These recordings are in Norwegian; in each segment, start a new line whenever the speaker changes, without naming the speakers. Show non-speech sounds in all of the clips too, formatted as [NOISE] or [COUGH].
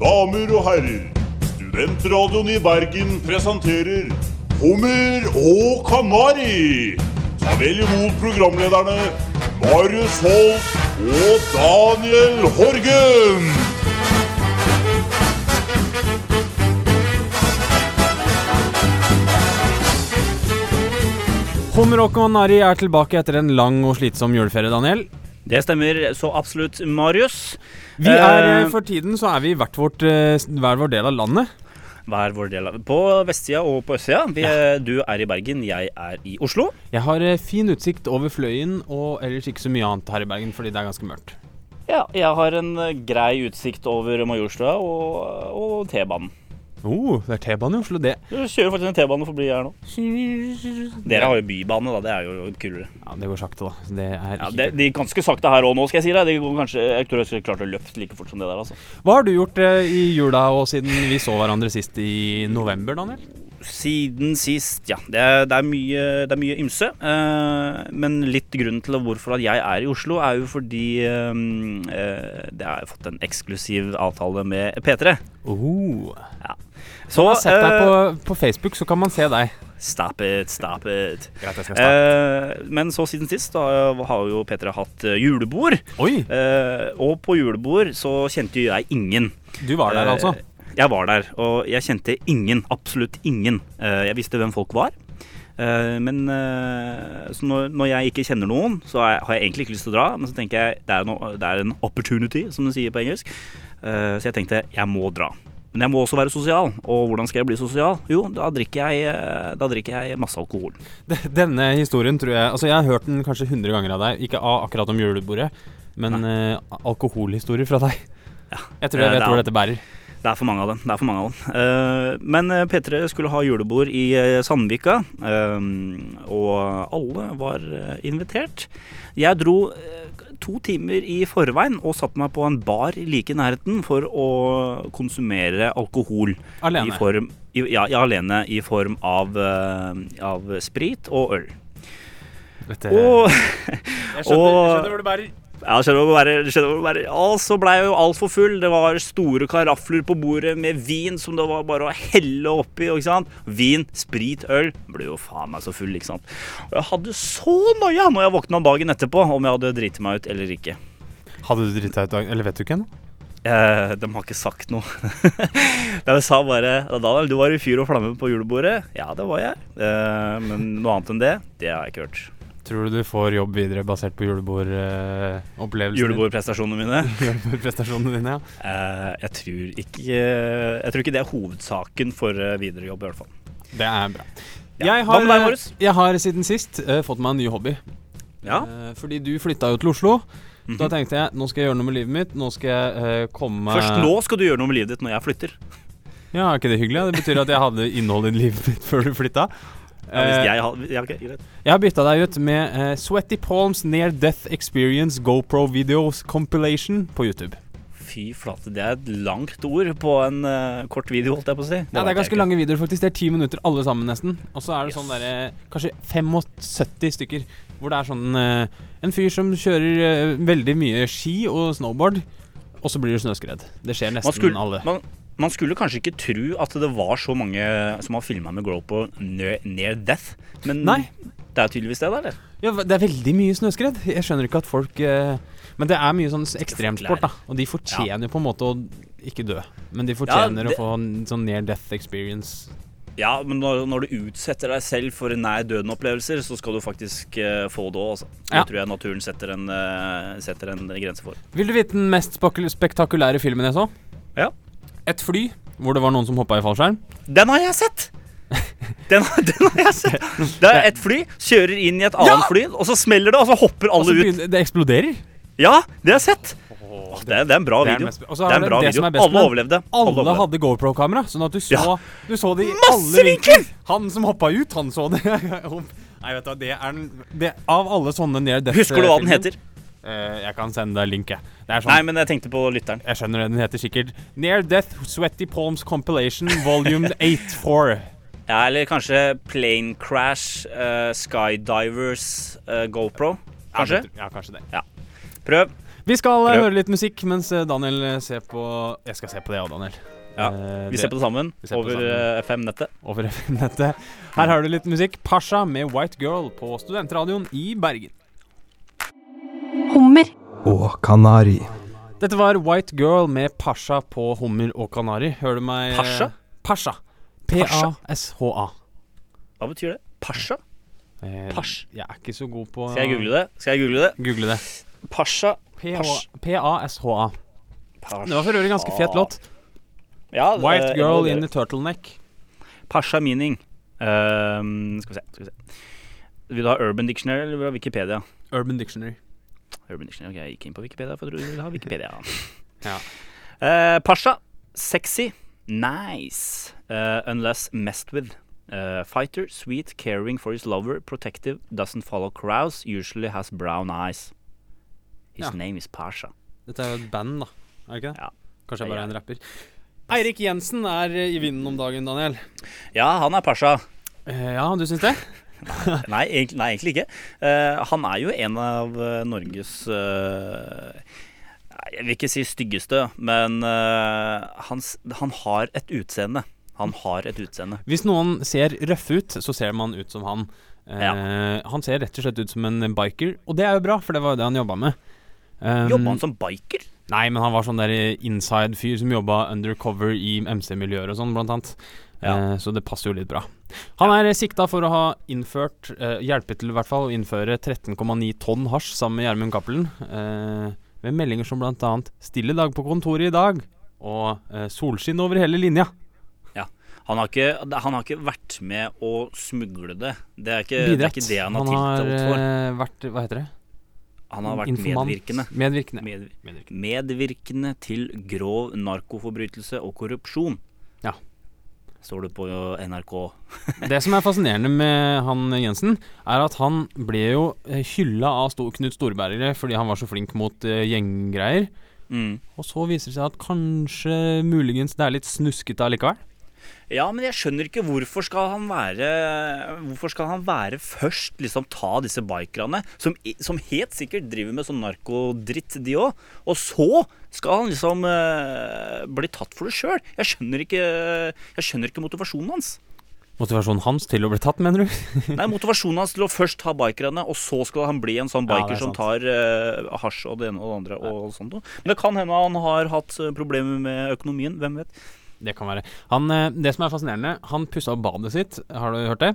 damer og herrer. Studentradioen i Bergen presenterer Hummer og kanari. Ta vel imot programlederne Marius Holst og Daniel Horgen.
Hummer og Kanari er tilbake etter en lang og slitsom juleferie, Daniel.
Det stemmer så absolutt, Marius.
Vi er,
Eh,
eh, for tiden så er vi i hvert vårt, eh, s- hver vår del av landet.
Hver vår del av På vestsida og på østsida. Vi, eh, Du er i Bergen, jeg er i Oslo.
Jeg har eh, fin utsikt over Fløyen og ellers ikke så mye annet her i Bergen, fordi det er ganske mørkt.
Ja, jeg har en eh, grei utsikt over Majorstua og, og T-banen.
Oh, det er T-bane i Oslo, det.
Du kjører faktisk en T-bane forbi her nå. Dere har jo bybane, da. Det er jo kulere.
Ja, det går sakte, da. så Det er
Ja,
ikke
det, de er ganske sakte her òg nå, skal jeg si deg. Det går kanskje, jeg tror jeg skulle klart å løfte like fort som det der, altså.
Hva har du gjort eh, i jula og siden vi så hverandre sist i november, Daniel?
Siden sist, ja. Det er, det er, mye, det er mye ymse. eh, men litt grunnen til hvorfor at jeg er i Oslo, er jo fordi eh, eh, det har jeg fått en eksklusiv avtale med P3.
Oh.
Så
Jeg har sett deg
eh,
på, på Facebook, så kan man se deg.
Stop it, stop it.
Greit, jeg skal
Eh, men så siden sist da, eh, har jo P3 hatt eh, julebord.
Oi,
Eh, og på julebord så kjente jo jeg ingen.
du var der
Eh,
altså.
Jeg var der, og jeg kjente ingen, absolutt ingen. Eh, Jeg visste hvem folk var. Eh, Men eh, så når, når jeg ikke kjenner noen, så er- har jeg egentlig ikke lyst til å dra. Men så tenker jeg det er, no, det er en opportunity, som de sier på engelsk. Eh, Så jeg tenkte jeg må dra. Men jeg må også være sosial. Og hvordan skal jeg bli sosial? Jo, da drikker jeg, eh, da drikker jeg masse alkohol.
D- Denne historien tror jeg Altså, jeg har hørt den kanskje 100 ganger av deg. Ikke av akkurat om julebordet, men eh, alkoholhistorier fra deg. Jeg tror jeg
eh,
vet
det er-
hvor dette bærer.
Det er for mange av dem. det er for mange av dem. Eh, men eh, P3 skulle ha julebord i eh, Sandvika, eh, og alle var eh, invitert. Jeg dro eh, to timer i forveien og satte meg på en bar like i nærheten for å konsumere alkohol. I
Alene.
form, i, ja, ja, alene i form av, eh, av sprit og øl.
Dette,
Og [LAUGHS]
jeg
og-
hvor det bærer.
Ja, skjønner du hva det er, skjønner du hva det er. Og så ble jeg jo altfor full. Det var store karafler på bordet med vin som det var bare å helle oppi. ikke sant? Vin, sprit, øl. Ble jo faen meg så full, ikke sant. Og jeg hadde så noia når jeg våkna dagen etterpå om jeg hadde driti meg ut eller ikke.
Hadde du drita ut dagen? Eller vet du ikke ennå?
Eh, de har ikke sagt noe. [LAUGHS] de sa bare Daniel, du var i fyr og flamme på julebordet. Ja, det var jeg. Eh, men noe annet enn det, det har jeg ikke hørt.
Tror du du får jobb videre basert på julebordopplevelsen?
Julebordprestasjonene mine.
[LAUGHS] Julebordprestasjonene dine, ja.
Eh, jeg, tror ikke, eh, jeg tror ikke det er hovedsaken for eh, videre jobb, i hvert fall.
Det er bra.
Ja.
Jeg,
Hva
har, eh,
med deg, Marius?
jeg har siden sist eh, fått meg en ny hobby.
Ja.
Eh, fordi du flytta jo til Oslo.
Mhm.
Da tenkte jeg nå skal jeg gjøre noe med livet mitt. Nå skal jeg eh, komme
Først nå skal du gjøre noe med livet ditt når jeg flytter.
Ja, er ikke det hyggelig? da? Det betyr at jeg hadde innhold i livet mitt før du flytta.
Ja, hvis
Eh,
jeg har, ja, ok, greit.
jeg har bytta deg ut med eh, Sweaty Palms Near Death Experience GoPro Videos Compilation på YouTube.
Fy flate, det er et langt ord på en eh, kort video, holdt jeg på å si.
Ja, Det er ganske lange videoer, faktisk. Det er ti minutter alle sammen, nesten. Og så er det
Yes.
sånn derre Kanskje 75 stykker. Hvor det er sånn eh, En fyr som kjører eh, veldig mye ski og snowboard, og så blir det snøskred. Det skjer nesten
Man skulle,
alle.
man, man skulle kanskje ikke tro at det var så mange som har filma med GoPro near, near death, men
Nei.
det er tydeligvis det, da? eller?
Ja, det er veldig mye snøskred. Jeg skjønner ikke at folk eh, Men det er mye sånn ekstremsport, da. Og de fortjener jo på en måte å ikke dø. Men de fortjener
det-
å få en sånn near death experience.
Ja, men når, når du utsetter deg selv for nær døden-opplevelser, så skal du faktisk eh, få det òg, altså.
Ja.
Det tror jeg naturen setter en, eh, setter en grense for.
Vil du vite den mest spakul- spektakulære filmen jeg så?
Ja.
Et fly hvor det var noen som hoppa i fallskjerm.
Den har jeg sett! Den, [LAUGHS] har- den har jeg sett. Det er et fly, kjører inn i et annet fly, og så smeller det, og så hopper
Og så
alle ut.
begynner- det eksploderer.
Ja, det har jeg sett. Åh, Det er, det er en bra
det er den
video.
mest- og så er
det er en
det
bra
det som
video.
er best med
Alle
den.
overlevde.
Alle
overlevde.
hadde GoPro-kamera, sånn at du så
Ja.
Du så det i
Masse
alle
vinkler!
Han som hoppa ut, han så det. [LAUGHS] Nei, vet du, det er den det, Av alle sånne near death
Husker du hva den
filmen-
heter?
Eh, jeg kan sende deg link, jeg. Det er sånn
Nei, men jeg tenkte på lytteren.
Jeg skjønner det, den heter sikkert Near Death Sweaty Palms Compilation
[LAUGHS]
Volume 8-4
Ja, eller kanskje Plane Crash, eh, Skydivers, eh, GoPro. Kanskje?
Ja, kanskje det
Prøv.
Vi skal eh,
Prøv.
høre litt musikk mens eh, Daniel eh, ser på Jeg skal se på det òg, Daniel.
Ja,
Eh,
Vi
det-
ser på det sammen
Vi ser på det
over
sammen.
eh, FM-nettet.
over [LAUGHS] FM-nettet. Her har du litt musikk. Pasha med White Girl på Studentradioen i Bergen.
Hummer.
og kanari.
Dette var White Girl med Pasha på hummer og kanari. Hører du meg eh,
Pasha?
Pasha.
Pasha?
P-a-s-h-a.
Hva betyr det? Pasha?
Eh,
Pash.
Jeg er ikke så god på
Skal jeg google det? Skal jeg google det?
Google det.
Pasha. Pash.
P-h- P-a-s-h-a.
Pasha.
Det var for øvrig en ganske fet låt.
Ja, det-
White
jeg må
Girl
det.
in a Turtleneck.
Pasha meaning. Ehm, skal vi se. skal vi se Vil du ha Urban Dictionary eller vil du ha Wikipedia?
Urban Dictionary.
Urban Dictionary, ok, Jeg gikk inn på Wikipedia, for du vil ha Wikipedia.
[LAUGHS] Ja.
Eh, Pasha. Sexy. Nice. Eh, unless messed with. Eh, fighter, sweet, caring for his lover, protective, doesn't follow crowds, usually has brown eyes. His
Ja.
name is Pasha.
Dette er jo et band, da. Er det ikke det?
Ja.
Kanskje jeg bare er en rapper. Eirik Jensen er eh, i vinden om dagen, Daniel.
Ja, han er Pasha.
Eh, ja, du syns det?
Nei, egentlig, nei, egentlig ikke. Eh, han er jo en av eh, Norges eh, nei, Jeg vil ikke si styggeste, men eh, hans, han har et utseende. Han har et utseende.
Hvis noen ser røffe ut, så ser man ut som han. Eh, Han ser rett og slett ut som en biker, og det er jo bra, for det var jo det han jobba med. Um,
Jobba han som biker?
Nei, men han var sånn der inside-fyr som jobba undercover i MC-miljøer og sånn, blant annet.
Ja.
Eh, så det passer jo litt bra. Han er eh, sikta for å ha innført, eh, hjulpet til i hvert fall, å innføre 13,9 tonn hasj sammen med Gjermund Cappelen. Eh, med meldinger som blant annet 'Stille dag på kontoret i dag' og eh, 'Solskinn over hele linja'.
Han har, ikke, han har ikke vært med å smugle det. Det er ikke Eh, det, er
Bidratt.
ikke det han har
har,
tiltalt for.
eh, vært Hva heter det?
Han har vært
Informant.
medvirkende.
Medvirkende.
Med,
Medvirkende.
medvirkende til grov narkoforbrytelse og korrupsjon.
Ja.
Står det på NRK.
Det som er fascinerende med han Jensen, er at han ble jo hylla av Sto- Knut Storberget fordi han var så flink mot eh, gjenggreier.
Mm.
Og så viser det seg at kanskje muligens det er litt snuskete allikevel.
Ja, men jeg skjønner ikke hvorfor skal han være Hvorfor skal han være først, liksom ta disse bikerne, som, i- som helt sikkert driver med sånn narkodritt, de òg, og så skal han liksom eh, bli tatt for det sjøl. Jeg skjønner ikke Jeg skjønner ikke motivasjonen hans.
Motivasjonen hans til å bli tatt, mener du? [LAUGHS]
Nei, motivasjonen hans til å først ta bikerne, og så skal han bli en sånn
Ja, det er
biker som
sant.
tar eh, hasj og det ene og det andre og sånt noe. Men det kan hende han har hatt eh, problemer med økonomien, hvem vet.
Det kan være. Han, eh, det som er fascinerende, han pussa opp badet sitt, har du hørt det?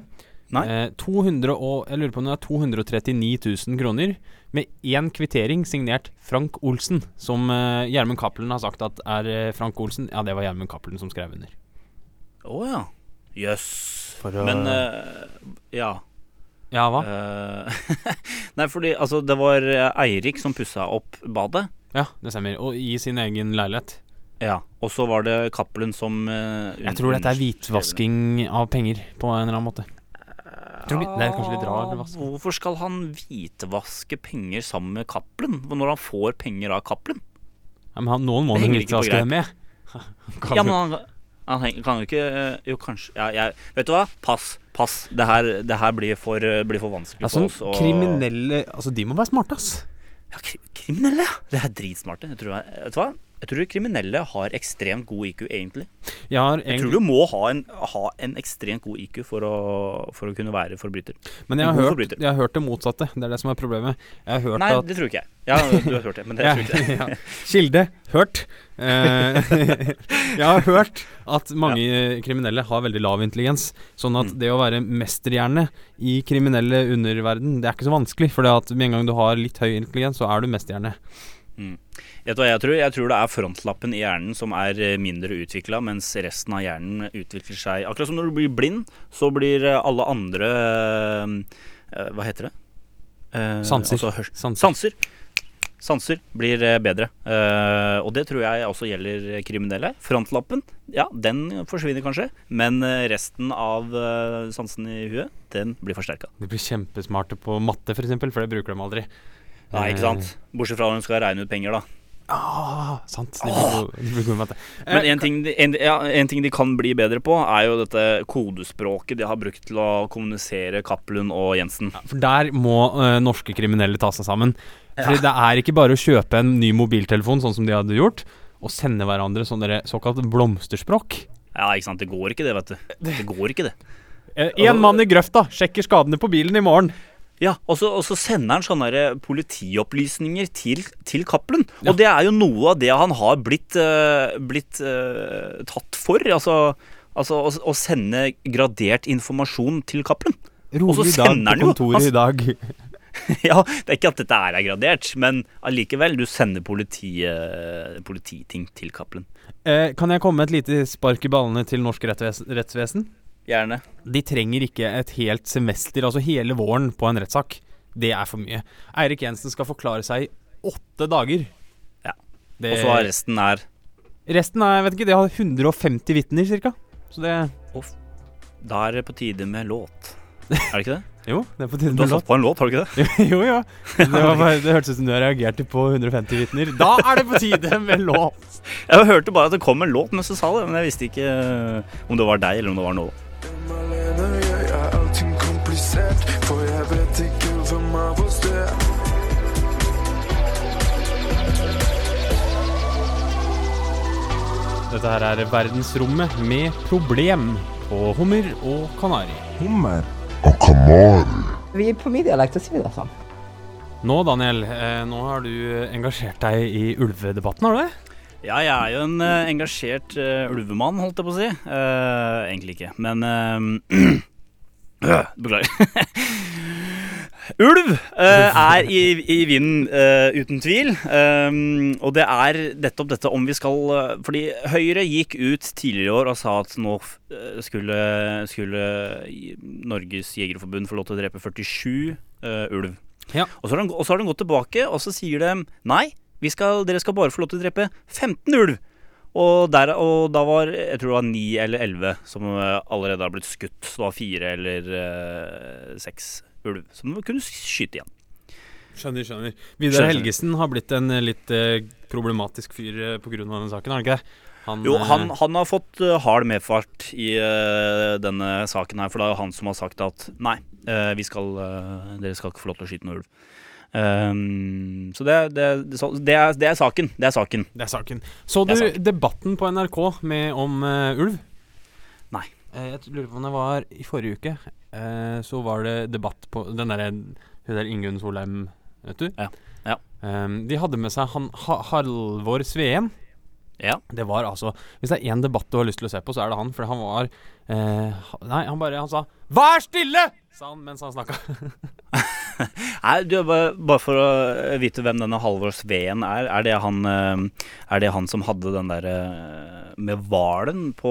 Nei.
Eh, 200 og, jeg lurer på om det er 239 000 kroner, med én kvittering signert Frank Olsen, som eh, Gjermund Cappelen har sagt at er eh, Frank Olsen. Ja, det var Gjermund Cappelen som skrev under.
Å ja. Jøss.
For å-
Men eh, ja.
Ja, hva?
Eh, [LAUGHS] Nei, fordi altså, det var eh, Eirik som pussa opp badet.
Ja, det stemmer. Og i sin egen leilighet.
Ja, Og så var det Cappelen som eh,
Jeg tror dette er
underskrev den.
hvitvasking av penger, på en eller annen måte. Tror vi- det er kanskje litt rar vask.
Hvorfor skal han hvitvaske penger sammen med Cappelen? Når han får penger av Cappelen?
Ja, men han, noen må
Det
han
henger
ikke
ikke på
vaske det med. [LAUGHS] Kan
Ja,
du-
men han, han heng- kan jo ikke eh, Jo, kanskje ja, jeg, Vet du hva? Pass. Pass. Det her, det her blir, for, eh, blir for vanskelig
altså,
for oss. å-
kriminelle Altså, de må være smarte, ass.
Ja, kri- kriminelle, ja! Det er dritsmarte. Jeg tror, jeg, vet du hva? Jeg tror kriminelle har ekstremt god IQ, egentlig.
Jeg har
Jeg
egentlig
tror du må ha en, ha en ekstremt god IQ for å, for å kunne være forbryter.
Men jeg har,
en god
hørt,
forbryter.
jeg har hørt det motsatte. Det er det som er problemet. Jeg har hørt
Nei,
at
det tror ikke jeg. Ja, du har hørt det, men det
Ja,
tror ikke
[LAUGHS] ja.
jeg.
Kilde hørt. Eh, [LAUGHS] jeg har hørt at mange kriminelle har veldig lav intelligens. Sånn
Mm.
at det å være mesterhjerne i kriminelle underverden, det er ikke så vanskelig. For med en gang du har litt høy intelligens, så er du mesterhjerne.
Eh, Vet du hva jeg tror? Jeg tror det er frontlappen i hjernen som er eh, mindre utvikla, mens resten av hjernen utvikler seg Akkurat som når du blir blind, så blir eh, alle andre eh, eh, Hva heter det? Eh,
Sanser.
altså hørs-
Sanser.
Sanser. Sanser blir eh, bedre. Eh, og det tror jeg også gjelder kriminelle. Frontlappen, ja, den forsvinner kanskje. Men eh, resten av eh, sansen i huet, den blir forsterka.
De blir kjempesmarte på matte, f.eks., for det bruker de aldri.
Nei, ikke sant? Eh, Bortsett fra når hun skal regne ut penger, da.
Ah, sant. De blir gode- de blir gode i matte. Eh,
Men en ting, de- en, ja, en ting de kan bli bedre på, er jo dette kodespråket de har brukt til å kommunisere Cappelen og Jensen.
For der må eh, norske kriminelle ta seg sammen. Fordi det er ikke bare å kjøpe en ny mobiltelefon, sånn som de hadde gjort, og sende hverandre sånn derre såkalt blomsterspråk.
Ja, ikke sant. Det går ikke, det, vet du. Det går ikke, det.
Én Eh, mann i grøfta sjekker skadene på bilen i morgen.
Ja, Og så, og så sender han sånne der politiopplysninger til, til Cappelen. Og det er jo noe av det han har blitt, eh, blitt eh, tatt for. Altså, altså å, å sende gradert informasjon til Cappelen. Og
Rolig
så
dag
sender
på
han jo,
kontoret
altså.
i dag.
[LAUGHS] ja, det er ikke at dette er gradert, men allikevel. Du sender politiet, polititing til Cappelen.
Eh, kan jeg komme med et lite spark i ballene til norsk rettvesen? rettsvesen?
Gjerne.
De trenger ikke et helt semester, altså hele våren, på en rettssak. Det er for mye. Eirik Jensen skal forklare seg i åtte dager.
Ja.
Det,
Og så er resten er
resten er, jeg vet ikke, de har 150 vitner ca. Så det
Da er det på tide med låt. Er det ikke det?
Jo, det er på tide
Du
[LAUGHS]
har
med låt.
satt på en låt, har du ikke det?
[LAUGHS] jo, ja. Det, var bare, det hørtes ut som du reagerte på 150 vitner. Da er det på tide med låt!
Jeg hørte bare at det kom en låt mens du sa det, men jeg visste ikke eh, om det var deg eller om det var noe.
Hvem alene jeg er allting komplisert, for jeg vet ikke hvem av oss det er.
Dette her er Verdensrommet med problem på hummer og kanari.
Vi på min dialekt så sier vi det sånn.
Nå, Daniel, eh, nå har du engasjert deg i ulvedebatten, har du det?
Ja, jeg er jo en eh, engasjert eh, ulvemann, holdt jeg på å si. Eh, egentlig ikke, men eh, [CLEARS THROAT] øh, Beklager. [LAUGHS] Ulv eh, er i, i vinden, eh, uten tvil. Eh, og det er nettopp dette om vi skal eh, Fordi Høyre gikk ut tidligere i år og sa at nå f- eh, skulle, skulle Norges Jegerforbund få lov til å drepe 47 eh, ulv.
Ja.
Og, så har de, og så har de gått tilbake, og så sier de nei, vi skal, dere skal bare få lov til å drepe 15 ulv. Og, der, og da var jeg tror det var 9 eller 11 som eh, allerede har blitt skutt. Så det var fire eller eh, seks ulv som de kunne skyte igjen.
Skjønner, skjønner. Vidar
Skjønner.
Helgesen har blitt en eh, litt eh, problematisk fyr eh, på grunn av denne saken, har han ikke det? Han,
Jo,
eh,
han, han har fått eh, hard medfart i eh, denne saken her, for det er jo han som har sagt at nei, eh, vi skal, eh, dere skal ikke få lov til å skyte noen ulv. Ehm, så det, det, det, så- det, er, det er saken. Det er saken.
Det er saken. Så du
Det er
debatten på NRK med om eh, ulv?
Nei.
Eh, jeg lurer på om det var i forrige uke. eh, så var det debatt på den derre Hun der Ingunn Solheim, vet du?
Ja, ja.
Ehm, de hadde med seg han ha Halvor Sveen.
Ja.
Det var altså Hvis det er én debatt du har lyst til å se på, så er det han. For han var eh, ha- Nei, han bare Han sa 'Vær stille!' sa han mens han snakka.
Nei, du, bare, bare for å vite hvem denne Halvor Sveen er. Er det han, eh, er det han som hadde den derre med hvalen på,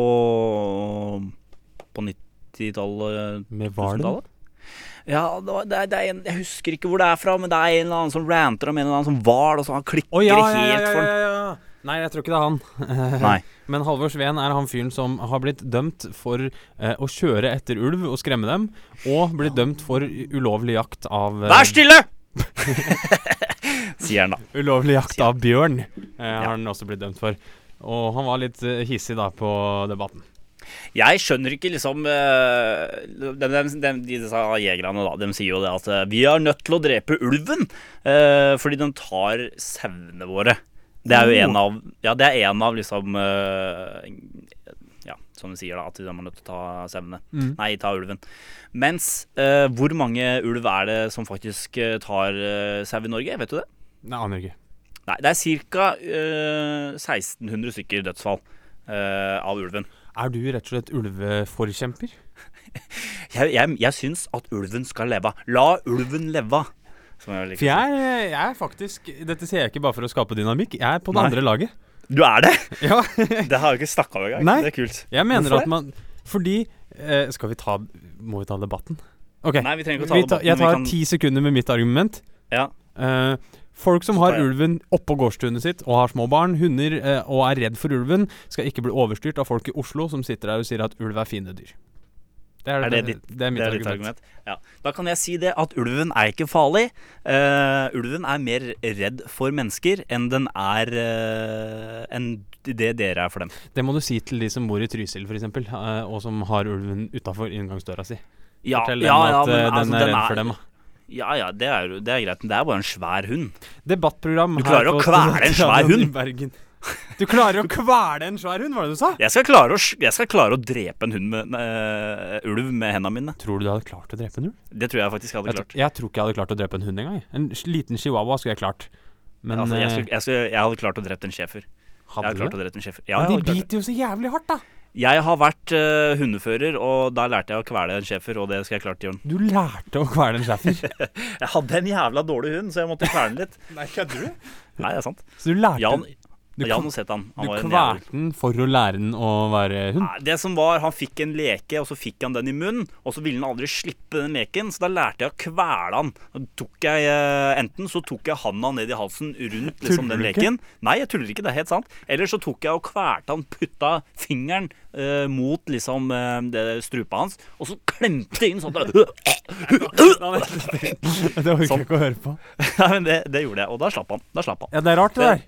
på 90-tallet?
Med
2000-tallet? Ja, det, var, det, er, det er en Jeg husker ikke hvor det er fra, men det er en eller annen som ranter om en eller annen som hval, og så han klikker
Å [LAUGHS] ja, ja,
det
ja,
helt
ja,
for
ja,
den.
ja. Nei, jeg tror ikke det er han.
Nei.
Men Halvor Sveen er han fyren som har blitt dømt for eh, å kjøre etter ulv og skremme dem, og blitt dømt for ulovlig jakt av eh,
Vær stille! [LAUGHS] Sier han da.
Ulovlig jakt av bjørn eh,
Ja.
har han også blitt dømt for. Og han var litt eh, hissig da på debatten.
Jeg skjønner ikke liksom eh, de, de, de, de, disse jegerne da, de sier jo det at eh, vi er nødt til å drepe ulven eh, fordi den tar sauene våre. Det er jo en av Ja, det er en av liksom eh, Ja, som de sier da, at de er nødt til å ta sauene. Nei, ta ulven. Mens eh, hvor mange ulv er det som faktisk eh, tar eh, sau i Norge? Vet du det?
Nei, aner ikke.
Nei, det er ca. 1600 stykker dødsfall eh, av ulven.
Er du rett og slett ulveforkjemper?
Jeg, jeg, jeg syns at ulven skal leve. La ulven leve. Som jeg liker
For
å si.
jeg, er- jeg er faktisk Dette sier jeg ikke bare for å skape dynamikk. Jeg er på det
Nei.
andre laget.
Du er det?
[LAUGHS]
[LAUGHS]
Ja,
Det har jeg ikke snakka om engang.
Nei.
Det er kult.
Jeg mener
Hvorfor
at man Fordi eh, Skal vi ta Må vi ta debatten? Ok.
Nei, vi trenger ikke å ta
Vi tar,
debatten,
jeg
men vi
tar
kan-
ti sekunder med mitt argument.
Ja.
Eh, folk som
Så
har
tar jeg-
ulven oppå gårdstunet sitt og har små barn, hunder eh, og er redd for ulven, skal ikke bli overstyrt av folk i Oslo som sitter der og sier at ulv er fine dyr. Det er,
Er det ditt-
det er mitt
Det er ditt
argument.
argument. Ja. Da kan jeg si det at ulven er ikke farlig. Eh, ulven er mer redd for mennesker enn den er eh, enn det dere er for dem.
Det må du si til de som bor i Trysil eh, f.eks., uh, og som har ulven utafor inngangsdøra si.
Ja,
Fortell
ja,
dem
ja,
at eh,
men,
den
altså,
er redd for dem. da.
Ja ja, det er, jo- det er greit. Men det er bare en svær hund.
Debattprogram
Du klarer
her på
å kvele en svær
Studentradioen i
hund.
Bergen. Du klarer å kvele en svær hund, var det du sa?
Jeg skal klare å, sj- jeg skal klare å drepe en hund med nei, ulv med hendene mine.
Tror du du hadde klart å drepe en ulv?
Det tror jeg faktisk jeg hadde
Jeg,
klart.
tr- jeg tror ikke jeg hadde klart å drepe en hund engang. jeg. En s- liten chihuahua skulle jeg klart. Men
altså, jeg,
eh,
skulle, jeg, skulle, jeg hadde klart å drepe en schæfer. Jeg
hadde
hadde
du
klart
det?
å drepe en schæfer.
Men
Ja, jeg
de
hadde klart det.
biter jo så jævlig hardt, da.
Jeg har vært eh, hundefører, og da lærte jeg å kvele en schæfer, og det skal jeg klart, Jørn.
Du lærte å kvele en schæfer.
[LAUGHS] Jeg hadde en jævla dårlig hund, så jeg måtte kvele den litt.
Nei, kødder du?
Nei, det er sant.
Så du lærte
Jan,
Du,
Jan
kv-
har sett han.
du
Han var en jævel.
kvalte den for å lære den å være
[LAUGHS]
hund?
Nei, Det som var, Han fikk en leke, og så fikk han den i munnen. Og så ville han aldri slippe den leken, så da lærte jeg å kvele han. Da tok jeg, eh, enten så tok jeg handa ned i halsen rundt liksom, den
Tuller du ikke?
leken. Nei, jeg tuller ikke, det er helt sant. Eller så tok jeg og kvelte han, putta fingeren eh, mot liksom eh, det, strupa hans, og så klemte jeg inn sånn. [LAUGHS] at det-
Det orker
Sånn.
jeg ikke å høre på.
Nei, men det, det gjorde jeg, og da slapp han. Da slapp han.
Ja, det er rart, det der.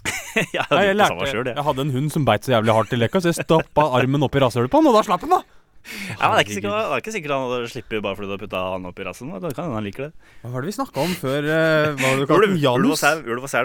[LAUGHS] Jeg
Nei,
hadde
jeg,
gjort det samme
lærte,
selv, jeg.
jeg hadde en hund som beit så jævlig hardt i leka, så jeg stappa armen opp i rasshølet på den, og da slapp den, da.
Ja, men det, er ikke sikkert, det er ikke sikkert han hadde slippet bare fordi du har putta han opp i rassen. Da kan hende han liker det.
Hva var det vi snakka om før? eh, Hva var det du kalte
Ulv,
den?
ulv og
Janus?
sau. Ulv og sau.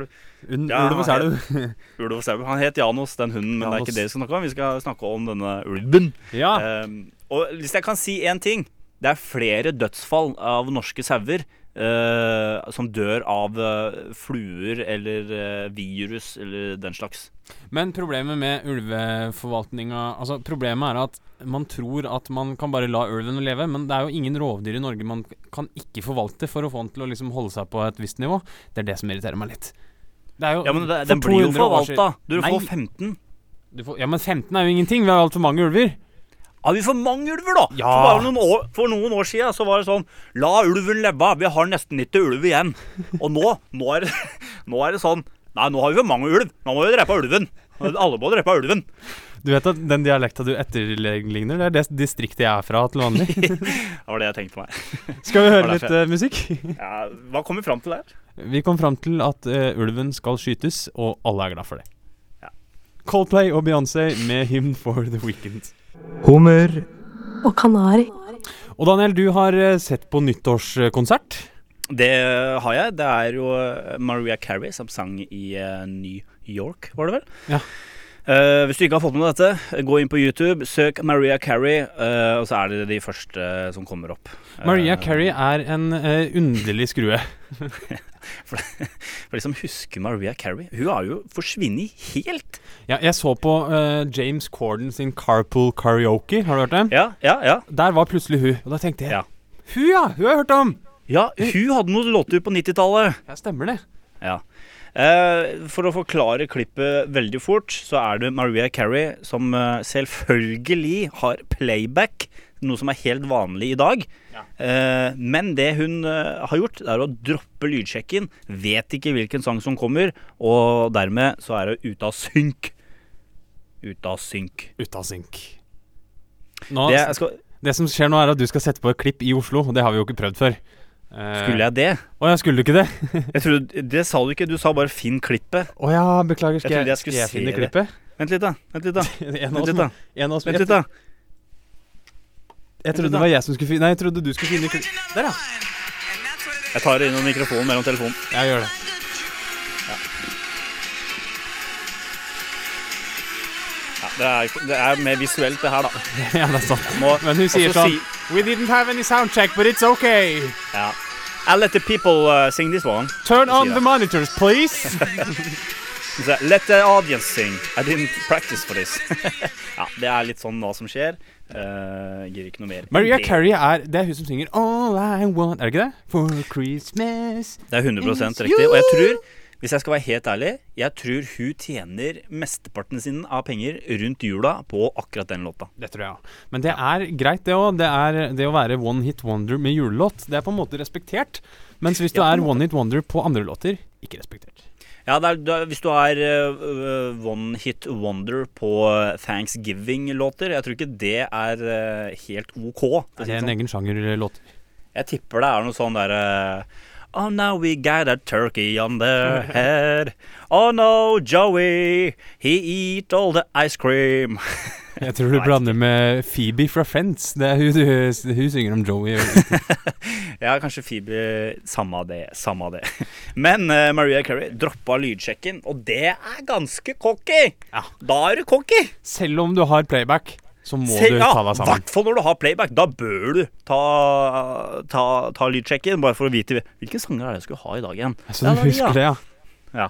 Un-
Ja,
Ulv og sau.
Ulv og sau. Han het Janos, den hunden, men det er
Janos.
ikke det vi skal snakke om. Vi skal snakke om denne ulven.
Ja.
Ehm, og hvis jeg kan si én ting Det er flere dødsfall av norske sauer eh, som dør av eh, fluer eller eh, virus eller den slags.
Men problemet med ulveforvaltninga Altså, problemet er at man tror at man kan bare la ulven leve, men det er jo ingen rovdyr i Norge man kan ikke forvalte for å få den til å liksom holde seg på et visst nivå. Det er det som irriterer meg litt. Det er jo
Ja, men det,
for
Den blir
200
jo
år siden-
forvalta. Du
Nei,
får 15.
du får, ja, men 15 er jo ingenting. Vi har altfor mange ulver.
Ja, vi får mange ulver, da!
Ja.
For, bare noen år, for noen år siden så var det sånn La ulven leve, vi har nesten ikke ulv igjen. Og nå, nå, er, det, [LAUGHS] nå er det sånn Nei, nå har vi for mange ulv. Nå må vi drepe ulven. Alle må drepe ulven.
Du vet at den dialekta du etterligner, det er det distriktet jeg er fra til vanlig.
[LAUGHS] Det var det jeg tenkte meg.
Skal vi høre
Var det
litt eh, musikk?
Ja, hva kom vi fram til der?
Vi kom fram til at eh, ulven skal skytes, og alle er glad for det.
Ja.
Coldplay og Beyoncé med Hymn for the Weekend.
Hummer,
og kanari.
Og Daniel, du har eh, sett på nyttårskonsert.
Det har jeg. Det er jo eh, Maria Carey som sang i eh, New York, var det vel?
Ja.
Eh, hvis du ikke har fått med deg dette, gå inn på YouTube, søk Maria Carey, eh, og så er det de første som kommer opp.
Maria
Eh,
Carey er en eh, underlig skrue.
For de som husker Maria Carey, hun har jo forsvunnet helt.
Ja, jeg så på eh, James Corden sin Carpool Karaoke, har du hørt det?
Ja, ja, ja.
Der var plutselig hun, og da tenkte jeg
Ja.
Hun, ja! Hun har jeg hørt om!
Ja, hun hadde noen låter på 90-tallet.
Ja, stemmer det.
Ja. Eh, for å forklare klippet veldig fort, så er det Maria Carey som eh, selvfølgelig har playback, noe som er helt vanlig i dag. Eh, men det hun eh, har gjort, det er å droppe lydsjekken, vet ikke hvilken sang som kommer, og dermed så er hun ute av synk. Ute av synk.
Ute av synk. Nå,
Det,
det,
jeg skal,
som skjer nå, er at du skal sette på et klipp i Oslo, og det har vi jo ikke prøvd før. Eh,
skulle jeg det?
Å ja, skulle du ikke det?
Jeg trodde, Det sa du ikke, du sa bare 'finn klippet'.
Å ja, beklager. Skal jeg,
Jeg trodde jeg
skal
skulle
jeg
se
finne
det.
klippet?
Vent litt, da. Vent litt, da.
[LAUGHS] En
Vent
av oss
litt,
må-
da.
en av oss må-
Vent
Jeg
litt da.
jeg
litt,
trodde
da.
det var jeg som skulle finne Nei, jeg trodde du skulle finne klippet. Der, ja.
Jeg tar det innom mikrofonen mellom telefonen.
Jeg gjør det.
Ja, det, er, det er mer visuelt, det her, da.
[LAUGHS] Ja, det er sant.
Må-
Men hun sier
og så
sånn We didn't have any soundcheck, but it's okay.
ja. I let the people uh, sing this one.
Turn on
sier
the
det.
monitors, please. [LAUGHS]
She said, Let the audience sing. I didn't practice for this. [LAUGHS] ja, det er litt sånn hva som skjer. Uh, gir ikke noe mer. enn
Maria
det.
Carey er Det er hun som synger All I Want Er det ikke det? For Christmas
Det er 100 riktig. Og jeg tror, hvis jeg skal være helt ærlig, jeg tror hun tjener mesteparten sin av penger rundt jula på akkurat den låta.
Det tror jeg også. Men det er greit, det òg. Det er det å være one hit wonder med julelåt. Det er på en måte respektert. Mens hvis du
Ja, på en
er one hit wonder på andre låter, ikke respektert.
Ja, det er, det er, hvis du er øh, øh, one hit wonder på øh, Thanksgiving-låter Jeg tror ikke det er øh, helt OK. for å
Det
si det
er en
sånn.
egen sjanger eh, låter.
Jeg tipper det er noe sånn derre Oh now we got a turkey on their head. Oh no, Joey, he eat all the ice cream. [LAUGHS]
Jeg tror du blander med Phoebe fra Friends. Det er hun, du, hun synger om Joey.
Ja, kanskje Phoebe Samme av det, samme av det. [LAUGHS] Men eh, Maria Carey droppa lydsjekken, og det er ganske cocky!
Ja.
Da er du cocky!
Selv om du har playback, så må
Selv-
du
ja,
ta deg sammen.
hvert fall når du har playback. Da bør du ta, ta, ta lydsjekken, bare for å vite hvilke sanger er det jeg skulle ha i dag igjen.
Så Altså, du
det er de, ja.
husker det, ja.
Ja,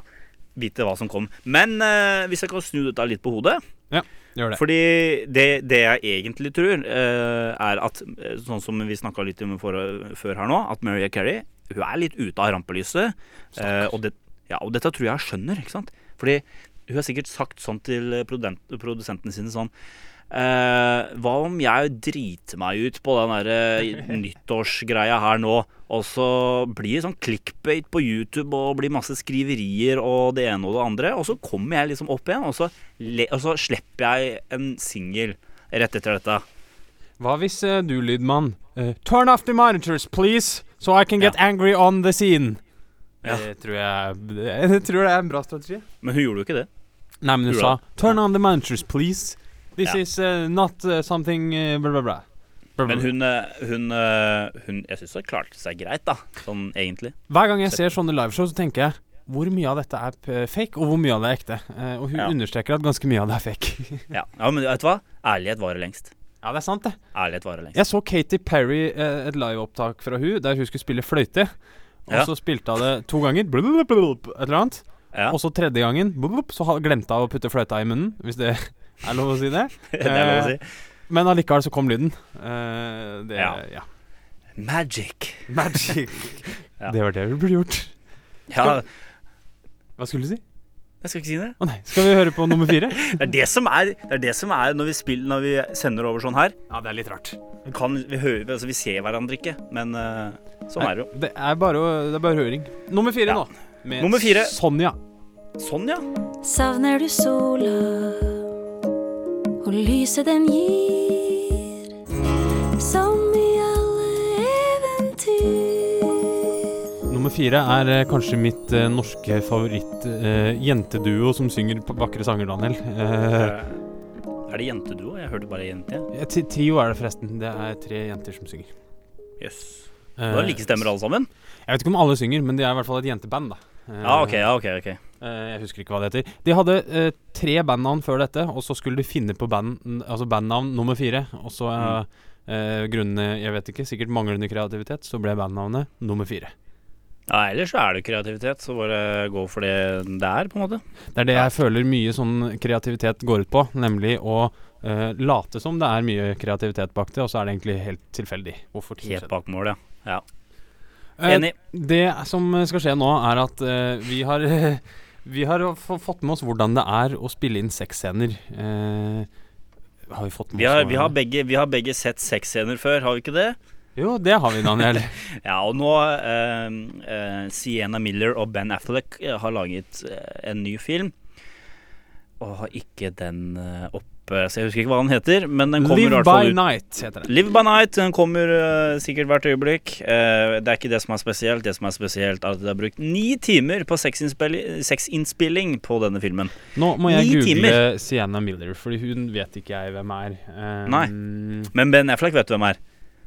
vite hva som kom. Men eh, hvis jeg kan snu dette litt på hodet
Gjør det.
Fordi det, det jeg egentlig tror, eh, er at eh, sånn som vi snakka litt om for, før her nå, at Maria Carey hun er litt ute av rampelyset. eh, og, det, ja, og dette tror jeg hun skjønner, ikke sant? Fordi hun har sikkert sagt sånn til produsent, produsentene sine sånn eh, Hva om jeg driter meg ut på
[LAUGHS]
den der eh, nyttårsgreia her nå, og så blir det sånn clickbait på YouTube og blir masse skriverier og det ene og det andre, og så kommer jeg liksom opp igjen, og så, le, og så slipper jeg en singel rett etter dette.
Hva hvis eh, du, lydmann eh, Turn off the monitors, please, so I can get angry on the scene.
Ja.
Det tror jeg, jeg tror det [LAUGHS] er en bra strategi.
Men hun gjorde jo ikke det.
Nei, men du
Tror
sa
jeg.
Turn on the monitors, please. This
Ja.
is eh, not eh, something eh, bla, bla, bla. Bla, bla,
Men
bla.
hun, eh, hun, eh, hun Jeg syns hun klarte seg greit, da. Sånn egentlig.
Hver gang jeg ser sånne liveshow, så tenker jeg hvor mye av dette er p- fake, og hvor mye av det er ekte? Eh, og hun
Ja.
understreker at ganske mye av det er fake. [LAUGHS]
Ja, ja men vet du hva? Ærlighet varer lengst.
ja, det er sant, det.
Ærlighet varer lengst.
Jeg så Katy Perry eh, et liveopptak fra hun der hun skulle spille fløyte. Og
Ja.
så spilte hun det to ganger, blub, blub, et eller annet.
Ja.
Og så tredje gangen, blub, så ha- glemte hun å putte fløyta i munnen, hvis det [LAUGHS] er lov å si det.
[LAUGHS] Det er lov å
eh,
si.
Men allikevel så kom lyden. Eh, det, ja.
Ja. Magic.
Magic.
[LAUGHS] Ja.
Det var det vi burde gjort.
Ja,
Hva skulle du si?
jeg skal ikke si det.
Å nei, skal vi høre på nummer fire?
[LAUGHS] Det er det som er, det er, det som er når, vi spiller, når vi sender over sånn her.
ja, det er litt rart.
Vi, kan, vi, hører, altså, vi ser hverandre ikke, men eh, sånn er det jo.
Det er bare, å- det er bare høring. Nummer fire
Ja.
nå. Med
Nummer fire.
Sonja.
Sånn, ja.
Savner du sola og lyset den gir, som i alle eventyr.
Nummer fire er eh, kanskje mitt eh, norske favoritt-jenteduo som synger på vakre sanger, Daniel. Eh,
Er det jenteduo? Jeg hørte bare jente. jeg.
ti- trio er det forresten. Det er tre jenter som synger.
Jøss.
Eh,
Da likestemmer alle sammen?
Jeg vet ikke om alle synger, men de er i hvert fall et jenteband, da. Eh,
Ja, Ah, OK. ja, ok, ok
eh, jeg husker ikke hva det heter. De hadde eh, tre bandnavn før dette, og så skulle de finne på band, altså bandnavn nummer fire. Og så eh,
Mm.
eh, grunnene Jeg vet ikke, sikkert manglende kreativitet, så ble bandnavnet nummer fire.
Ja, Ellers så er det kreativitet, så bare gå for det det er, på en måte.
Det er det jeg føler mye sånn kreativitet går ut på, nemlig å eh, late som det er mye kreativitet bak det, og så er det egentlig helt tilfeldig. Hvorfor ting
Helt
skjedde.
bak mål, ja. ja.
Eh,
Enig.
det som skal skje nå, er at eh, vi har [LAUGHS] Vi har f- fått med oss hvordan det er å spille inn sexscener. Eh, har vi fått med
Vi har,
oss
vi, har begge, vi har begge sett sexscener før, har vi ikke det?
Jo, det har vi, Daniel.
Ja, og nå eh, eh, Sienna Miller og Ben Affleck eh, har laget eh, en ny film. Og har ikke den eh, oppe, så jeg husker ikke hva den heter. Men den [LAUGHS] kommer i
Live
hvert
by
fall ut.
night heter det.
Live by Night den kommer eh, sikkert hvert øyeblikk. Eh, det er ikke det som er spesielt. Det som er spesielt, er at det er brukt ni timer på sexinnspilli- sexinnspilling på denne filmen.
Nå må jeg
Ni
google
timer.
Sienna Miller, Fordi hun vet ikke jeg hvem er. Eh,
Men Ben Affleck vet du hvem er.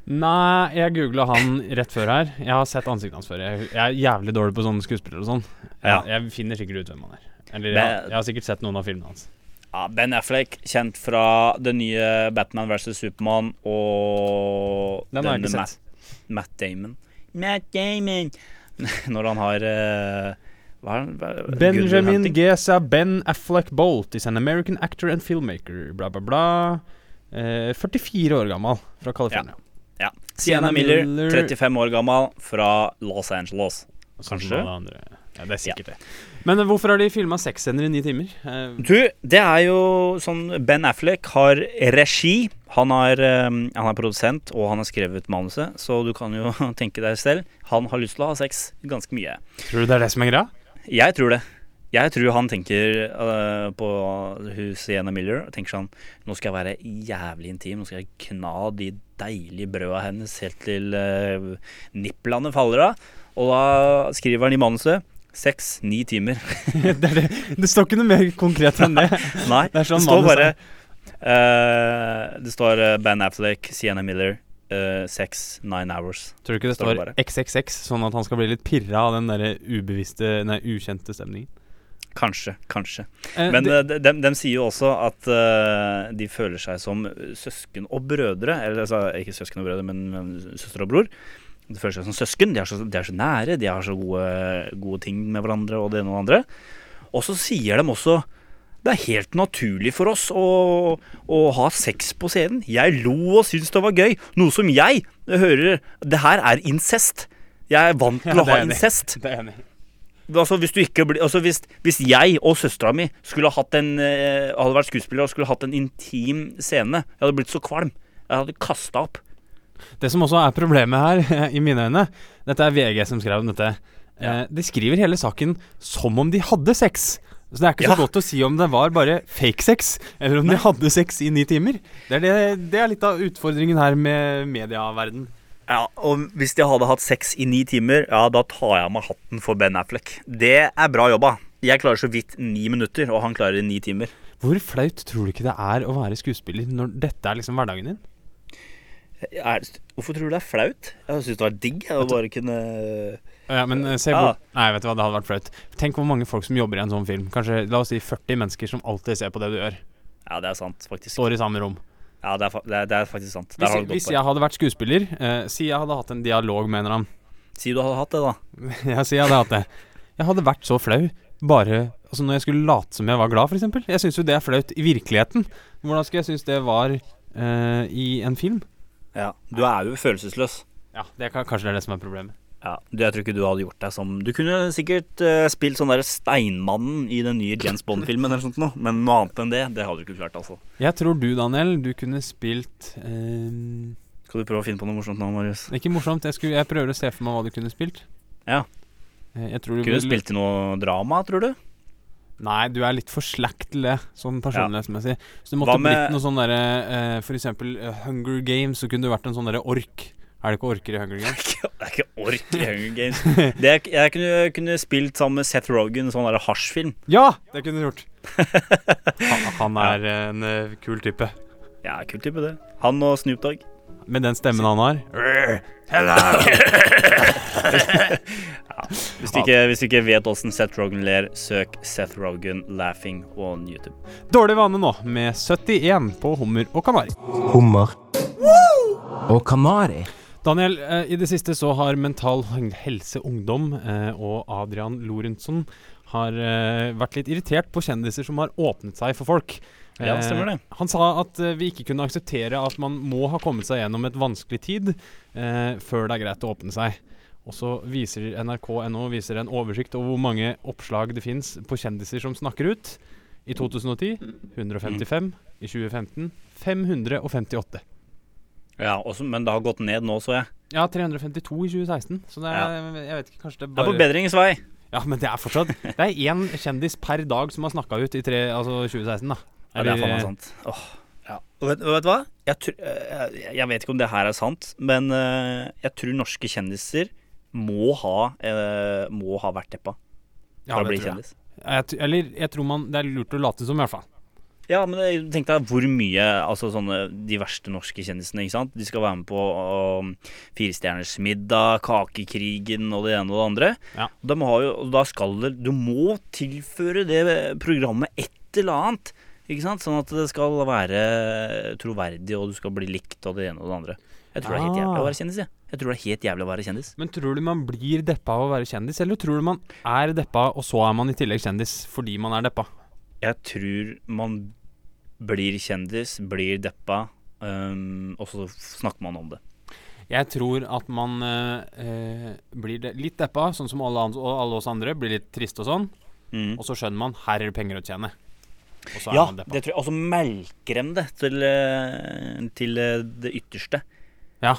Nei, jeg googla han rett før her. Jeg har sett ansiktet hans før. Jeg, jeg er jævlig dårlig på sånne skuespillere og sånn.
Ja.
Jeg, jeg finner sikkert ut hvem han er. Eller jeg,
Men-
jeg har sikkert sett noen av filmene hans.
Ja, Ben Affleck, kjent fra den nye Batman vs. Supermann og
Den har jeg ikke
denne
sett.
Matt, Matt Damon. Matt Damon! [LAUGHS] Når han har eh, hva er han? Hva- Good Will
Benjamin
Hunting?
Gesa Ben Affleck Bolt is an American actor and filmmaker. Bla, bla, bla. Eh, 44 år gammel, fra California.
Ja. Sienna Miller,
Miller.
35 år gammel, fra Los Angeles.
Og så
Kanskje.
noen av de andre. Ja, det er sikkert det. Men eh, hvorfor har de filma sexscener i ni timer? Eh,
Du, det er jo sånn Ben Affleck har regi. Han er, ehm, han er produsent, og han har skrevet manuset, så du kan jo [LAUGHS] tenke deg selv. Han har lyst til å ha sex ganske mye.
tror du det er det som er greia? [LAUGHS]
Jeg tror det. Jeg tror han tenker eh, på hun Sienna Miller og tenker sånn Nå skal jeg være jævlig intim. Nå skal jeg kna de deilige brøda hennes helt til uh, niplene faller av. Og da skriver han i manuset seks-ni timer. [LAUGHS]
det, er det. det står ikke noe mer konkret enn det.
Nei,
Det
det,
er sånn
står
manus
bare Eh, det står eh, Ben Affleck, Sienna Miller, eh, Sex, Nine Hours.
Tror du ikke det
Står det
står XXX, sånn at han skal bli litt pirra av den derre ubevisste, nei, ukjente stemningen?
Kanskje, kanskje.
Eh,
Men
det-
eh, de, de, de sier jo også at eh, de føler seg som søsken og brødre. Eller altså, ikke søsken og brødre, men, men søster og bror. De føler seg som søsken. De er så, de er så nære, de har så gode, gode ting med hverandre og det ene og det andre. Og så sier de også det er helt naturlig for oss å, å ha sex på scenen. Jeg lo og syntes det var gøy. Noe som jeg hører Det her er incest. Jeg er vant til
Ja,
å
det
ha
er enig.
incest.
det er jeg enig i.
Altså hvis, du ikke blir, altså hvis, hvis jeg og søstera mi skulle hatt en, eh, hadde vært skuespillere og skulle hatt en intim scene Jeg hadde blitt så kvalm. Jeg hadde kasta opp.
Det som også er problemet her, [LAUGHS] i mine øyne Dette er VG som skrev om dette. Eh, De skriver hele saken som om de hadde sex. Så det er ikke
Ja.
så godt å si om det var bare fake sex, eller om de hadde sex i ni timer. Det er, det, det er litt av utfordringen her med medieverden.
Ja, Og hvis de hadde hatt sex i ni timer, ja, da tar jeg av meg hatten for Ben Affleck. Det er bra jobba. Jeg klarer så vidt ni minutter, og han klarer ni timer.
Hvor flaut tror du ikke det er å være skuespiller når dette er liksom hverdagen din?
Er, hvorfor tror du det er flaut? Jeg syns det var digg å bare kunne
Ja, men eh, se
Ja.
hvor Nei, vet du hva, det hadde vært flaut. Tenk hvor mange folk som jobber i en sånn film. Kanskje, la oss si 40 mennesker som alltid ser på det du gjør.
Ja, det er sant, faktisk.
Står i samme rom.
Ja, det er, fa- det er, det er faktisk sant. Der
Hvis,
har du et godt
hvis
poeng.
jeg hadde vært skuespiller, eh, si jeg hadde hatt en dialog med en eller annen [LAUGHS]
Si du hadde hatt det, da.
Jeg sier jeg hadde hatt det. Jeg hadde vært så flau bare altså når jeg skulle late som jeg var glad, f.eks. Jeg syns jo det er flaut i virkeligheten. Hvordan skulle jeg synes det var eh, i en film?
Ja, Du er jo følelsesløs.
Ja, det er, Kanskje det er det som er problemet.
Ja, du- Jeg tror ikke du hadde gjort deg som Du kunne sikkert eh, spilt sånn derre Steinmannen i den nye Jens Bond-filmen eller sånt noe, men noe annet enn det, det hadde du ikke klart, altså.
Jeg tror du, Daniel, du kunne spilt eh,
Skal du prøve å finne på noe morsomt nå, Marius?
Ikke morsomt, jeg, skulle, jeg prøver å se for meg hva du kunne spilt.
Ja.
Eh, Jeg tror du
Kunne du
vil-
spilt i noe drama, tror du?
Nei, du er litt for slack til det, sånn personlighetsmessig. Så det måtte
Hva med-
blitt noe sånn derre eh, For eksempel eh, Hunger Games, så kunne du vært en sånn derre ork. Er det ikke orker i Hunger Games?
Det er [LAUGHS] ikke ork i Hunger Games. [LAUGHS] Det, jeg- jeg kunne, kunne spilt sammen med Seth Rogan, sånn derre hasjfilm.
Ja! Det kunne du
[LAUGHS]
gjort. Han, han er en eh, kul type.
Ja, kul type, det. Han og Snoop Dogg.
Med den stemmen han har.
[LAUGHS] Hvis du ikke, hvis du ikke vet åssen Seth Rogan ler, søk Seth Rogan laughing on YouTube.
Dårlig vane nå, med 71 på hummer og kanari.
hummer og kanari.
Daniel, eh, i det siste så har Mental Helse Ungdom eh, og Adrian Lorentzen har eh, vært litt irritert på kjendiser som har åpnet seg for folk.
Ja, det stemmer det.
Eh, Han sa at eh, vi ikke kunne akseptere at man må ha kommet seg gjennom et vanskelig tid eh, før det er greit å åpne seg. Og så viser NRK.no viser en oversikt over hvor mange oppslag det fins på kjendiser som snakker ut. I 2010 155. I 2015 558.
Ja, også, Men det har gått ned nå, så jeg.
Ja, 352 i 2016. Så det er, jeg vet ikke, kanskje det
Det er
bare
på bedringens vei.
Ja, men det er fortsatt Det er én kjendis per dag som har snakka ut i tre, altså 2016, da.
Ja, det er faen meg sant. Åh, ja. og, vet, og vet du hva? Jeg, tr- eh, jeg- jeg vet ikke om det her er sant, men eh, jeg tror norske kjendiser må ha, eh, må ha vært deppa
Ja,
for å
det
bli
tror jeg.
kjendis.
Jeg t- eller jeg tror man Det er lurt å late som, i hvert fall.
Ja, men jeg tenkte deg hvor mye altså sånne, de verste norske kjendisene. ikke sant? De skal være med på um, Firestjerners middag, Kakekrigen og det ene og det andre.
Ja.
De har jo, og da skal det, Du må tilføre det programmet et eller annet. ikke sant? Sånn at det skal være troverdig, og du skal bli likt og det ene og det andre. Jeg tror det er helt jævlig å være kjendis. Jeg, jeg tror det er helt jævlig å være kjendis.
Men tror du man blir deppa av å være kjendis, eller tror du man er deppa, og så er man i tillegg kjendis fordi man er deppa?
Jeg tror man blir kjendis, blir deppa, um, og så snakker man om det.
Jeg tror at man eh, eh, blir de litt deppa, sånn som alle, ans- og alle oss andre. Blir litt triste og sånn.
Mm.
Og så skjønner man her er det penger å tjene. Og så er
Ja,
man deppa.
det tror jeg. Og så melker de det til, eh, til eh, det ytterste.
Ja,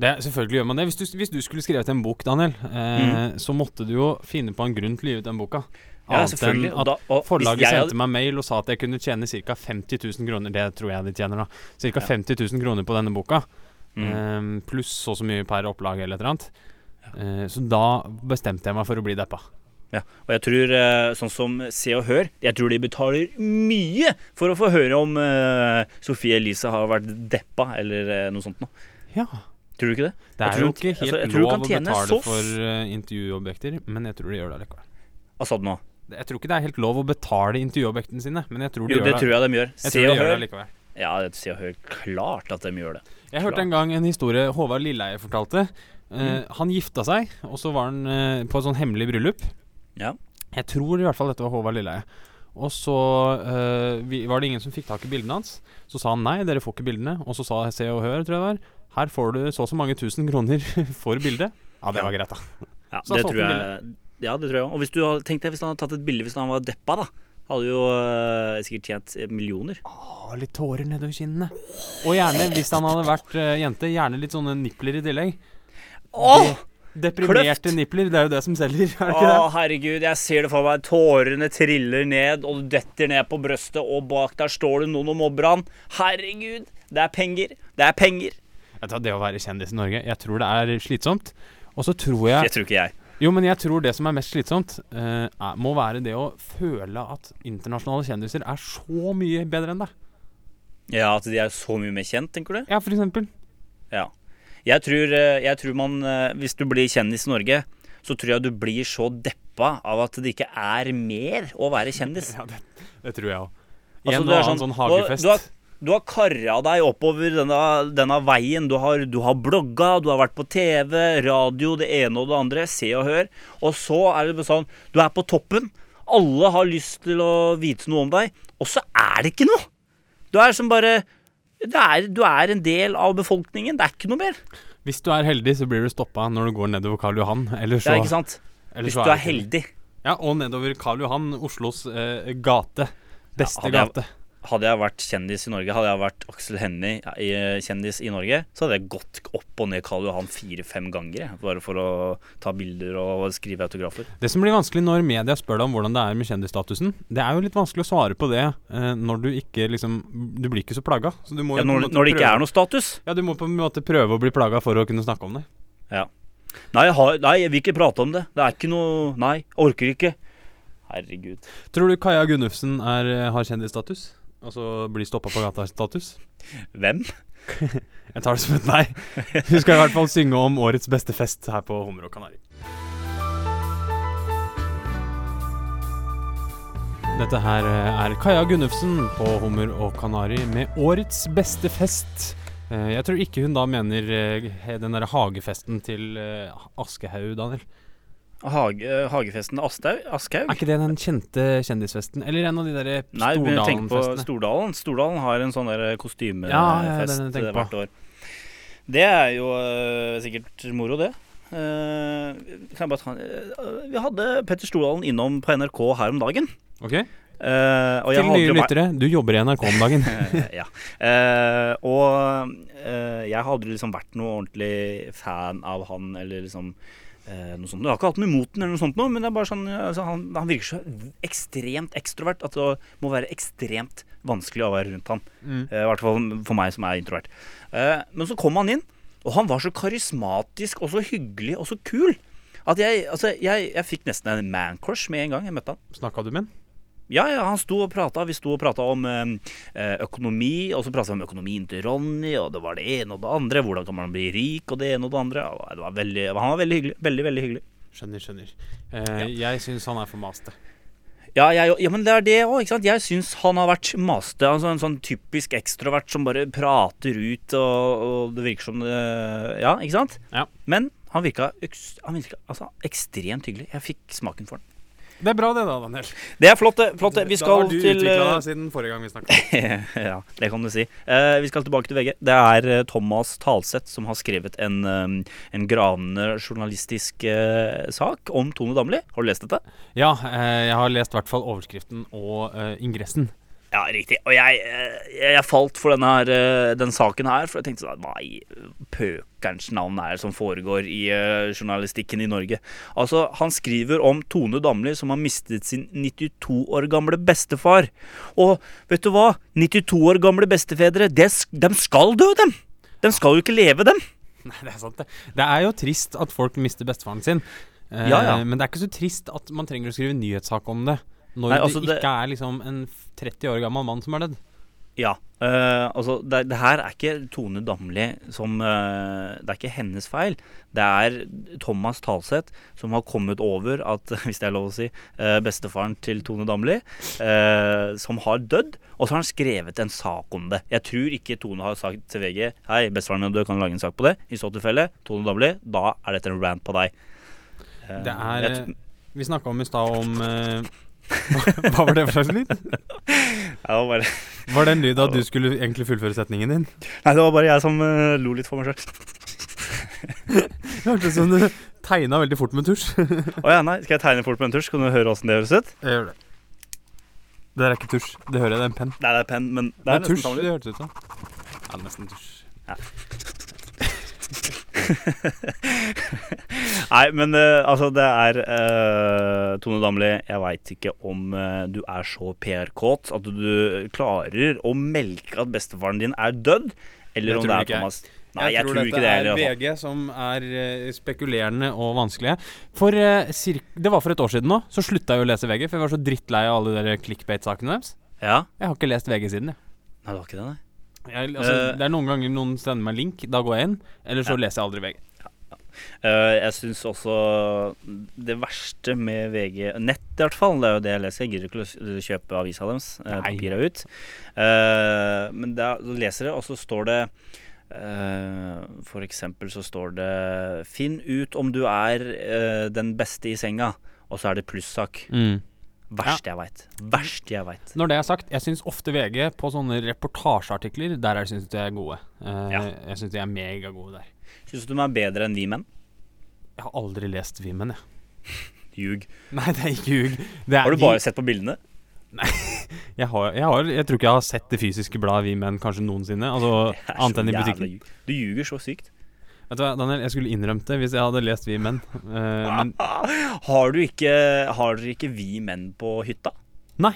det, selvfølgelig gjør man det. Hvis du, hvis du skulle skrevet en bok, Daniel, eh, så måtte du jo finne på en grunn til å gi ut den boka.
Mm. Ja,
Annet enn
selvfølgelig. Og
at
da- og hvis
forlaget
jeg hadde-
sendte meg mail og sa at jeg kunne tjene ca. 50 000 kroner. Det tror jeg de tjener, da. Ca. 50 000 kroner på denne boka.
Mm.
Eh, pluss så og så mye per opplag eller et eller annet. Eh, så da bestemte jeg meg for å bli deppa.
Ja, og jeg tror, eh, sånn som Se og Hør, jeg tror de betaler mye for å få høre om eh, Sophie Elise har vært deppa, eller eh, noe sånt noe.
Ja.
Tror du ikke det?
Det
Jeg
er
tror
jo
at-
ikke helt
altså, jeg tror du
lov
kan
å
tjene
betale
så f-
for eh, intervjuobjekter, men jeg tror de gjør det likevel.
Altså nå.
Det- Jeg tror ikke det er helt lov å betale intervjuobjektene sine, men jeg tror de
Jo,
gjør
det tror jeg de gjør.
Jeg
Se
tror
og
de gjør det
Hør.
likevel.
Ja, det- Se og Hør. Klart at de gjør det.
Jeg hørte en gang en historie Håvard Lilleheie fortalte. Eh, han gifta seg, og så var han eh, på et sånn hemmelig bryllup.
Ja.
Jeg tror i hvert fall dette var Håvard Lilleheie. Og så eh, vi, var det ingen som fikk tak i bildene hans. Så sa han nei, dere får ikke bildene. Og så sa Se og Hør, tror jeg det var, her får du så og så mange tusen kroner [LAUGHS] for bildet. Ja, det var greit, da.
Ja,
Så
det
da solgte
tror jeg. Ja, det tror jeg. Og hvis du hadde, tenk deg hvis han hadde tatt et bilde hvis han var deppa, da. Hadde jo eh, sikkert tjent eh, millioner.
Å, litt tårer nedover kinnene. Og gjerne, hvis han hadde vært eh, jente, gjerne litt sånne nipler i tillegg.
Åh!
Deprimerte
Kløft!
nipler, det er jo det som selger, er det
Å,
ikke det?
herregud, jeg ser det for meg. Tårene triller ned, og du detter ned på brøstet, og bak der står det noen og mobber han. Herregud, det er penger. Det er penger.
Vet du hva, Det å være kjendis i Norge, jeg tror det er slitsomt. Og så tror
Jeg
jeg
tror ikke jeg.
Jo, men jeg tror det som er mest slitsomt, eh, er, må være det å føle at internasjonale kjendiser er så mye bedre enn deg.
Ja, At de er så mye mer kjent, tenker du?
Ja, for eksempel.
Ja. Jeg tror, eh, jeg tror man eh, Hvis du blir kjendis i Norge, så tror jeg du blir så deppa av at det ikke er mer å være kjendis.
Ja, det, det tror jeg òg.
Altså,
en
du
og
er
annen sånn, hagefest.
Du har, du har karra deg oppover denne, denne veien. Du har, du har blogga, du har vært på TV, radio, det ene og det andre. Se og hør. Og så er det bare sånn Du er på toppen. Alle har lyst til å vite noe om deg. Og så er det ikke noe! Du er som bare du er, du er en del av befolkningen. Det er ikke noe mer.
Hvis du er heldig, så blir du stoppa når du går nedover Karl Johan. Eller
Det
så,
er ikke sant?
eller
Hvis
så
du er
det ikke-
heldig.
Ja, og nedover Karl Johan, Oslos eh, gate. Beste
hadde jeg-
gate.
Hadde jeg vært kjendis i Norge, hadde jeg vært Aksel Hennie eh, kjendis i Norge, så hadde jeg gått opp og ned Karl Johan fire-fem ganger, jeg, bare for å ta bilder og skrive autografer.
Det som blir vanskelig når media spør deg om hvordan det er med kjendisstatusen, det er jo litt vanskelig å svare på det eh, når du ikke liksom Du blir ikke så plaga. Så du må jo på
Ja,
en
når,
måte
når det ikke
prøve-
er noe status.
Ja, du må på en måte prøve å bli plaga for å kunne snakke om det.
Nei, jeg, har, nei, jeg vil ikke prate om det. Det er ikke noe Nei, jeg orker ikke. Herregud.
Tror du Kaja Gunnufsen er, eh, har kjendisstatus? Altså blir stoppa på gata-status?
Hvem?
Jeg tar det som et nei. Hun skal i hvert fall synge om årets beste fest her på Hummer og Kanari. Dette her eh, er Kaja Gunnufsen på Hummer og Kanari med årets beste fest. Eh, Jeg tror ikke hun da mener eh, den derre hagefesten til eh, Aschehoug, Daniel.
Hage, eh, hagefesten Astau- Aschhaug?
Er ikke det den kjente kjendisfesten? Eller en av de derre
Nei, du begynner å tenke på
Stordalen-festene?
Stordalen. Stordalen har en sånn der kostymefest eh,
Ja, ja, den jeg tenker på.
hvert år. Det er jo eh, sikkert moro, det. Eh, kan jeg bare ta, eh, vi hadde Petter Stordalen innom på NRK her om dagen.
Ok.
Eh, og jeg
Til
hadde
nye
jo vært-
lyttere, du jobber i NRK om dagen.
[LAUGHS] Eh, ja. Eh, og eh, jeg har aldri liksom vært noe ordentlig fan av han, eller liksom eh, noe sånt. Jeg har ikke hatt noe imot den, eller noe sånt noe, men det er bare sånn, altså, han, han virker så ekstremt ekstrovert at det må være ekstremt vanskelig å være rundt han. Eh, I hvert fall for meg som er introvert. Eh, men så kom han inn, og han var så karismatisk og så hyggelig og så kul. At jeg, altså, jeg, jeg fikk nesten en man-crush med en gang jeg møtte han.
Snakka du med han?
Ja, ja, han sto og prata. Vi sto og prata om eh, økonomi, og så prata vi om økonomien til Ronny, og det var det ene og det andre. Hvordan kan man bli rik, og det ene og det andre. Ja, Det var veldig, han var veldig hyggelig. Veldig, veldig hyggelig.
Skjønner, skjønner. Eh, Jeg syns han er for maste.
Ja, jeg, ja men det er det òg, ikke sant. Jeg syns han har vært maste. Altså en sånn typisk ekstrovert som bare prater ut, og, og det virker som det Ja, ikke sant?
Ja.
Men han virka, øks- han virka altså, ekstremt hyggelig. Jeg fikk smaken for den.
Det er bra det, da, Daniel.
Det er flott, det. Flott, det. Vi skal
da har du
til
utvikla
eh,
deg siden forrige gang vi snakka. [LAUGHS]
[LAUGHS] ja, det kan du si. Eh, vi skal tilbake til VG. Det er eh, Thomas Talseth som har skrevet en, eh, en gravende journalistisk eh, sak om Tone Damli. Har du lest dette?
Ja, eh, jeg har lest i hvert fall overskriften og eh, [LAUGHS] ingressen.
Ja, riktig. Og jeg, eh, jeg falt for denne her, eh, den saken her, for jeg tenkte sånn Hva i pøkerens navn er det som foregår i eh, journalistikken i Norge? Altså, han skriver om Tone Damli som har mistet sin 92 år gamle bestefar. Og vet du hva? 92 år gamle bestefedre, det, sk- dem skal dø, dem! De skal jo ikke leve, dem!
Nei, det er sant, det. Det er jo trist at folk mister bestefaren sin. Eh,
Ja, ja.
Men det er ikke så trist at man trenger å skrive nyhetssak om det når
Nei, altså,
det
det-
ikke er liksom en f- 30 år gammel mann som er dødd.
Ja. eh, altså, det, det her er ikke Tone Damli som eh, Det er ikke hennes feil. Det er Thomas Talseth som har kommet over at, [LAUGHS] hvis det er lov å si, eh, bestefaren til Tone Damli, eh, som har dødd. Og så har han skrevet en sak om det. Jeg tror ikke Tone har sagt til VG Hei, bestefaren min er død, kan du lage en sak på det? I så tilfelle, Tone Damli, da er dette en rant på deg. Eh,
Det er
jeg
eh, Vi snakka om i stad om eh, [LAUGHS] hva, hva var det for slags lyd?
[LAUGHS] Ja, det var bare- [LAUGHS]
Var det en lyd at du skulle egentlig fullføre setningen din?
Nei, det var bare jeg som eh, lo litt for meg sjøl.
Det hørtes ut som du tegna veldig fort med tusj.
Å ja, nei, skal jeg tegne fort på en tusj? Kan du høre åssen det høres ut?
Jeg gjør det. Det der er ikke tusj. Det hører jeg, det er en penn.
Nei, det er penn, men
Det
det
er
er nesten
tusj,
samme
det
lyd.
hørtes ut som. Ja, nesten tusj.
Nei, men eh, altså, det er eh, Tone Damli, jeg veit ikke om eh, du er så PR-kåt at du klarer å melke at bestefaren din er dødd,
Jeg
eller om
tror
det
ikke
er
jeg.
Thomas Nei, jeg, tror, ikke det
dette
heller. altså. i hvert fall.
er VG som er eh, spekulerende og vanskelige. For eh, cirk Det var for et år siden nå, så slutta jeg å lese VG, for jeg var så drittlei av alle de der clickbait-sakene deres.
Ja?
Jeg har ikke lest VG siden, jeg.
Nei, det var ikke det, nei.
jeg altså,
Eh.
det er noen ganger noen sender meg en link, da går jeg inn. Eller så leser jeg aldri VG.
Eh, jeg syns også det verste med VG Nett, i hvert fall. Det er jo det jeg leser. Jeg gidder ikke å s- kjøpe avisa deres. Uh,
Nei.
Papir er ut. Eh, men da leser jeg, og så står det eh, For eksempel så står det 'Finn ut om du er eh, den beste i senga', og så er det plussak.
Mm.
Verst jeg veit. Verst jeg veit.
Når det er sagt, jeg syns ofte VG på sånne reportasjeartikler, der syns jeg de er gode. Eh,
Ja.
Jeg syns de er megagode der.
Syns du de er bedre enn vi menn?
Jeg har aldri lest Vimmen, jeg.
Ljug.
[LAUGHS] Nei, det er ikke ljug. Det er
Har du
de-
bare sett på bildene?
[LAUGHS] Jeg, har, jeg, har, jeg tror ikke jeg har sett det fysiske bladet Vi Menn kanskje noensinne. Altså,
[LAUGHS] Det er
annet
så
enn i
jævla
butikken.
ljug. Du ljuger så sykt.
Vet du hva, Daniel, jeg skulle innrømt det hvis jeg hadde lest Vi Menn. Eh, men
Har du ikke Har dere ikke vi menn på hytta?
nei,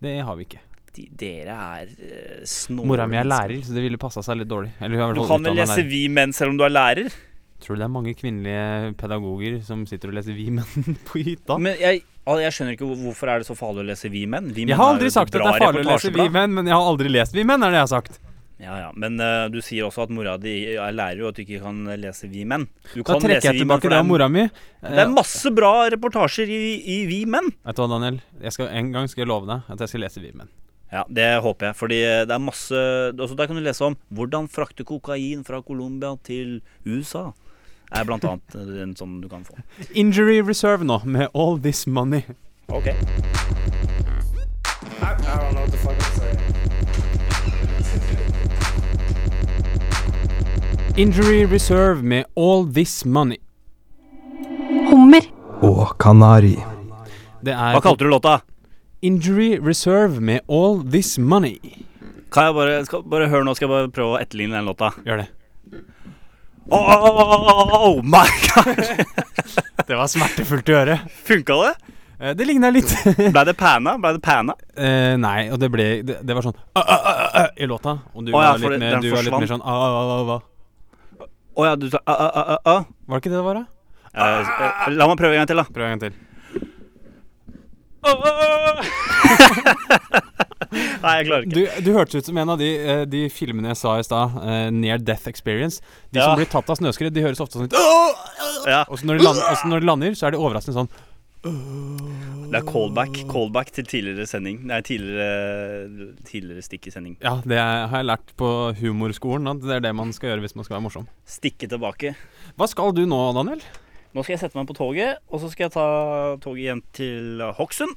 det har vi ikke.
de, dere er uh, snåle.
Mora mi er
mennesker.
lærer, så det ville passa seg litt dårlig. Eller hun er i
Du
hvert fall
kan vel
utdannet
lese
lærer.
Vi menn selv om du er lærer?
Tror du det er mange kvinnelige pedagoger som sitter og leser Vi Menn [LAUGHS] på hytta?
Men jeg, al- jeg skjønner ikke hvor- hvorfor er det så farlig å lese Vi menn. Vi
Jeg
menn
har
jo
aldri
et
sagt at det
bra
er farlig å lese Vi
reportasjeblad.
Menn, men jeg har aldri lest Vi Menn, er det jeg har sagt.
Ja, ja. Men eh, du sier også at mora di er lærer, og at du ikke kan lese Vi menn. Du
Da
kan lese
trekker jeg
Sånn Vi menn, for
tilbake det av
det er-
mora mi.
Det
Eh,
er masse bra reportasjer i, i Vi menn.
Vet du hva, Daniel? Jeg skal, en gang skal jeg love deg at jeg skal lese Vi Menn.
Ja, Det håper jeg. Fordi eh, det er masse altså Der kan du lese om hvordan frakte kokain fra Colombia til USA. Er blant annet en sånn du kan få.
Injury Reserve nå, med All This Money.
Ok
Injury Reserve med All This Money.
Hummer.
Og kanari.
Det er
Hva kalte du låta?
Injury Reserve med All This Money.
Kan jeg bare, skal, bare hør nå, skal jeg bare prøve å etterligne den låta.
Gjør det.
Oh, my god! [LAUGHS]
Det var smertefullt å gjøre.
Funka det?
Eh, Det ligna litt. [LAUGHS]
Blei det pana? Blei det pana?
Eh, nei, og det ble Det, det var sånn «Ah, ah, ah, ah», i låta. Og du,
Å ja,
var,
for
litt
det-
mer,
den
du var litt
forsvant.
mer sånn ah, ah, ah, ah, ah.
Å ja, du sa a, a, a, a.
Var det ikke det det var, da?
Eh, eh, La meg prøve en gang til, da.
Prøv en gang til.
[LAUGHS] Nei, jeg klarer
Du,
ikke.
du hørtes ut som en av de, eh, de filmene jeg sa i stad, eh, Near Death Experience. De
Ja.
som blir tatt av snøskred, de høres ofte sånn ut. «Åh!»
Ja,
Og så når, de land- og så når de lander, så er de overraskende sånn.
det er callback Callback til tidligere sending. Nei, tidligere, tidligere stikk i sending.
Ja, det har jeg lært på humorskolen, at det er det man skal gjøre hvis man skal være morsom.
Stikke tilbake.
Hva skal du nå, Daniel?
Nå skal jeg sette meg på toget, og så skal jeg ta toget igjen til Hokksund.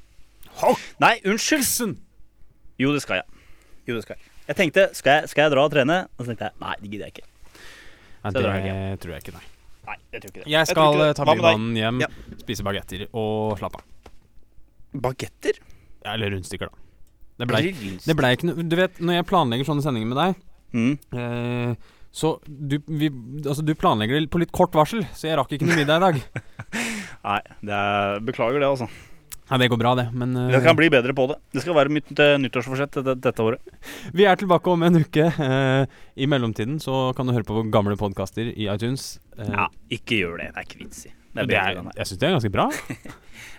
Nei, unnskyld. Jo, det skal jeg. Jo, det skal jeg. Jeg tenkte, skal jeg, skal jeg dra og trene? Og så tenkte jeg, nei, det gidder jeg ikke.
Nei,
Så
det
drar jeg hjem.
tror jeg ikke, nei.
Nei, jeg tror ikke det.
Jeg
tror
skal
ikke det.
eh, ta
Hva med deg?
bybanen hjem,
Ja.
spise bagetter og slappe av.
Bagetter?
Ja, Eller rundstykker, da. Det blei det blei ikke noe Du vet, når jeg planlegger sånne sendinger med deg,
Mm.
eh, så du, vi, altså, du planlegger det på litt kort varsel, så jeg rakk ikke noe middag i dag.
[LAUGHS] Nei, det er, beklager det, altså.
Mm. Nei, det går bra, det, men eh,
Jeg kan bli bedre på det. Det skal være mitt eh, nyttårsforsett dette, dette året.
vi er tilbake om en uke. eh, I mellomtiden så kan du høre på gamle podkaster i iTunes. eh,
Ja, ikke gjør det. Det er ikke vits i. Det er
Det
bedre
er,
enn det.
jeg syns det er ganske bra.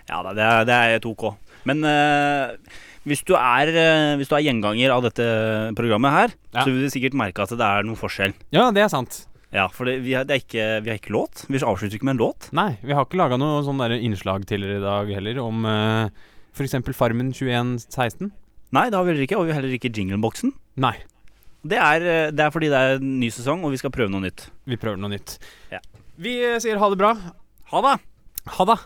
Ja da, det er, det er helt OK. Men eh, hvis, du er, eh, hvis du er gjenganger av dette programmet her,
Ja.
så vil du sikkert merke at det er noen forskjell.
Ja, det er sant.
Ja, for det, vi, har, det er ikke, vi har ikke låt. Vi avslutter ikke med en låt.
Nei, vi har ikke laga noe sånn der innslag tidligere i dag heller om eh, for f.eks. Farmen 2116.
Nei, det har vi heller ikke. Og vi har heller ikke jingleboksen.
Nei,
Det er, eh, det er fordi det er en ny sesong, og vi skal prøve noe nytt.
vi prøver noe nytt.
Ja.
Vi eh, sier ha det bra.
Ha det!
Ha det.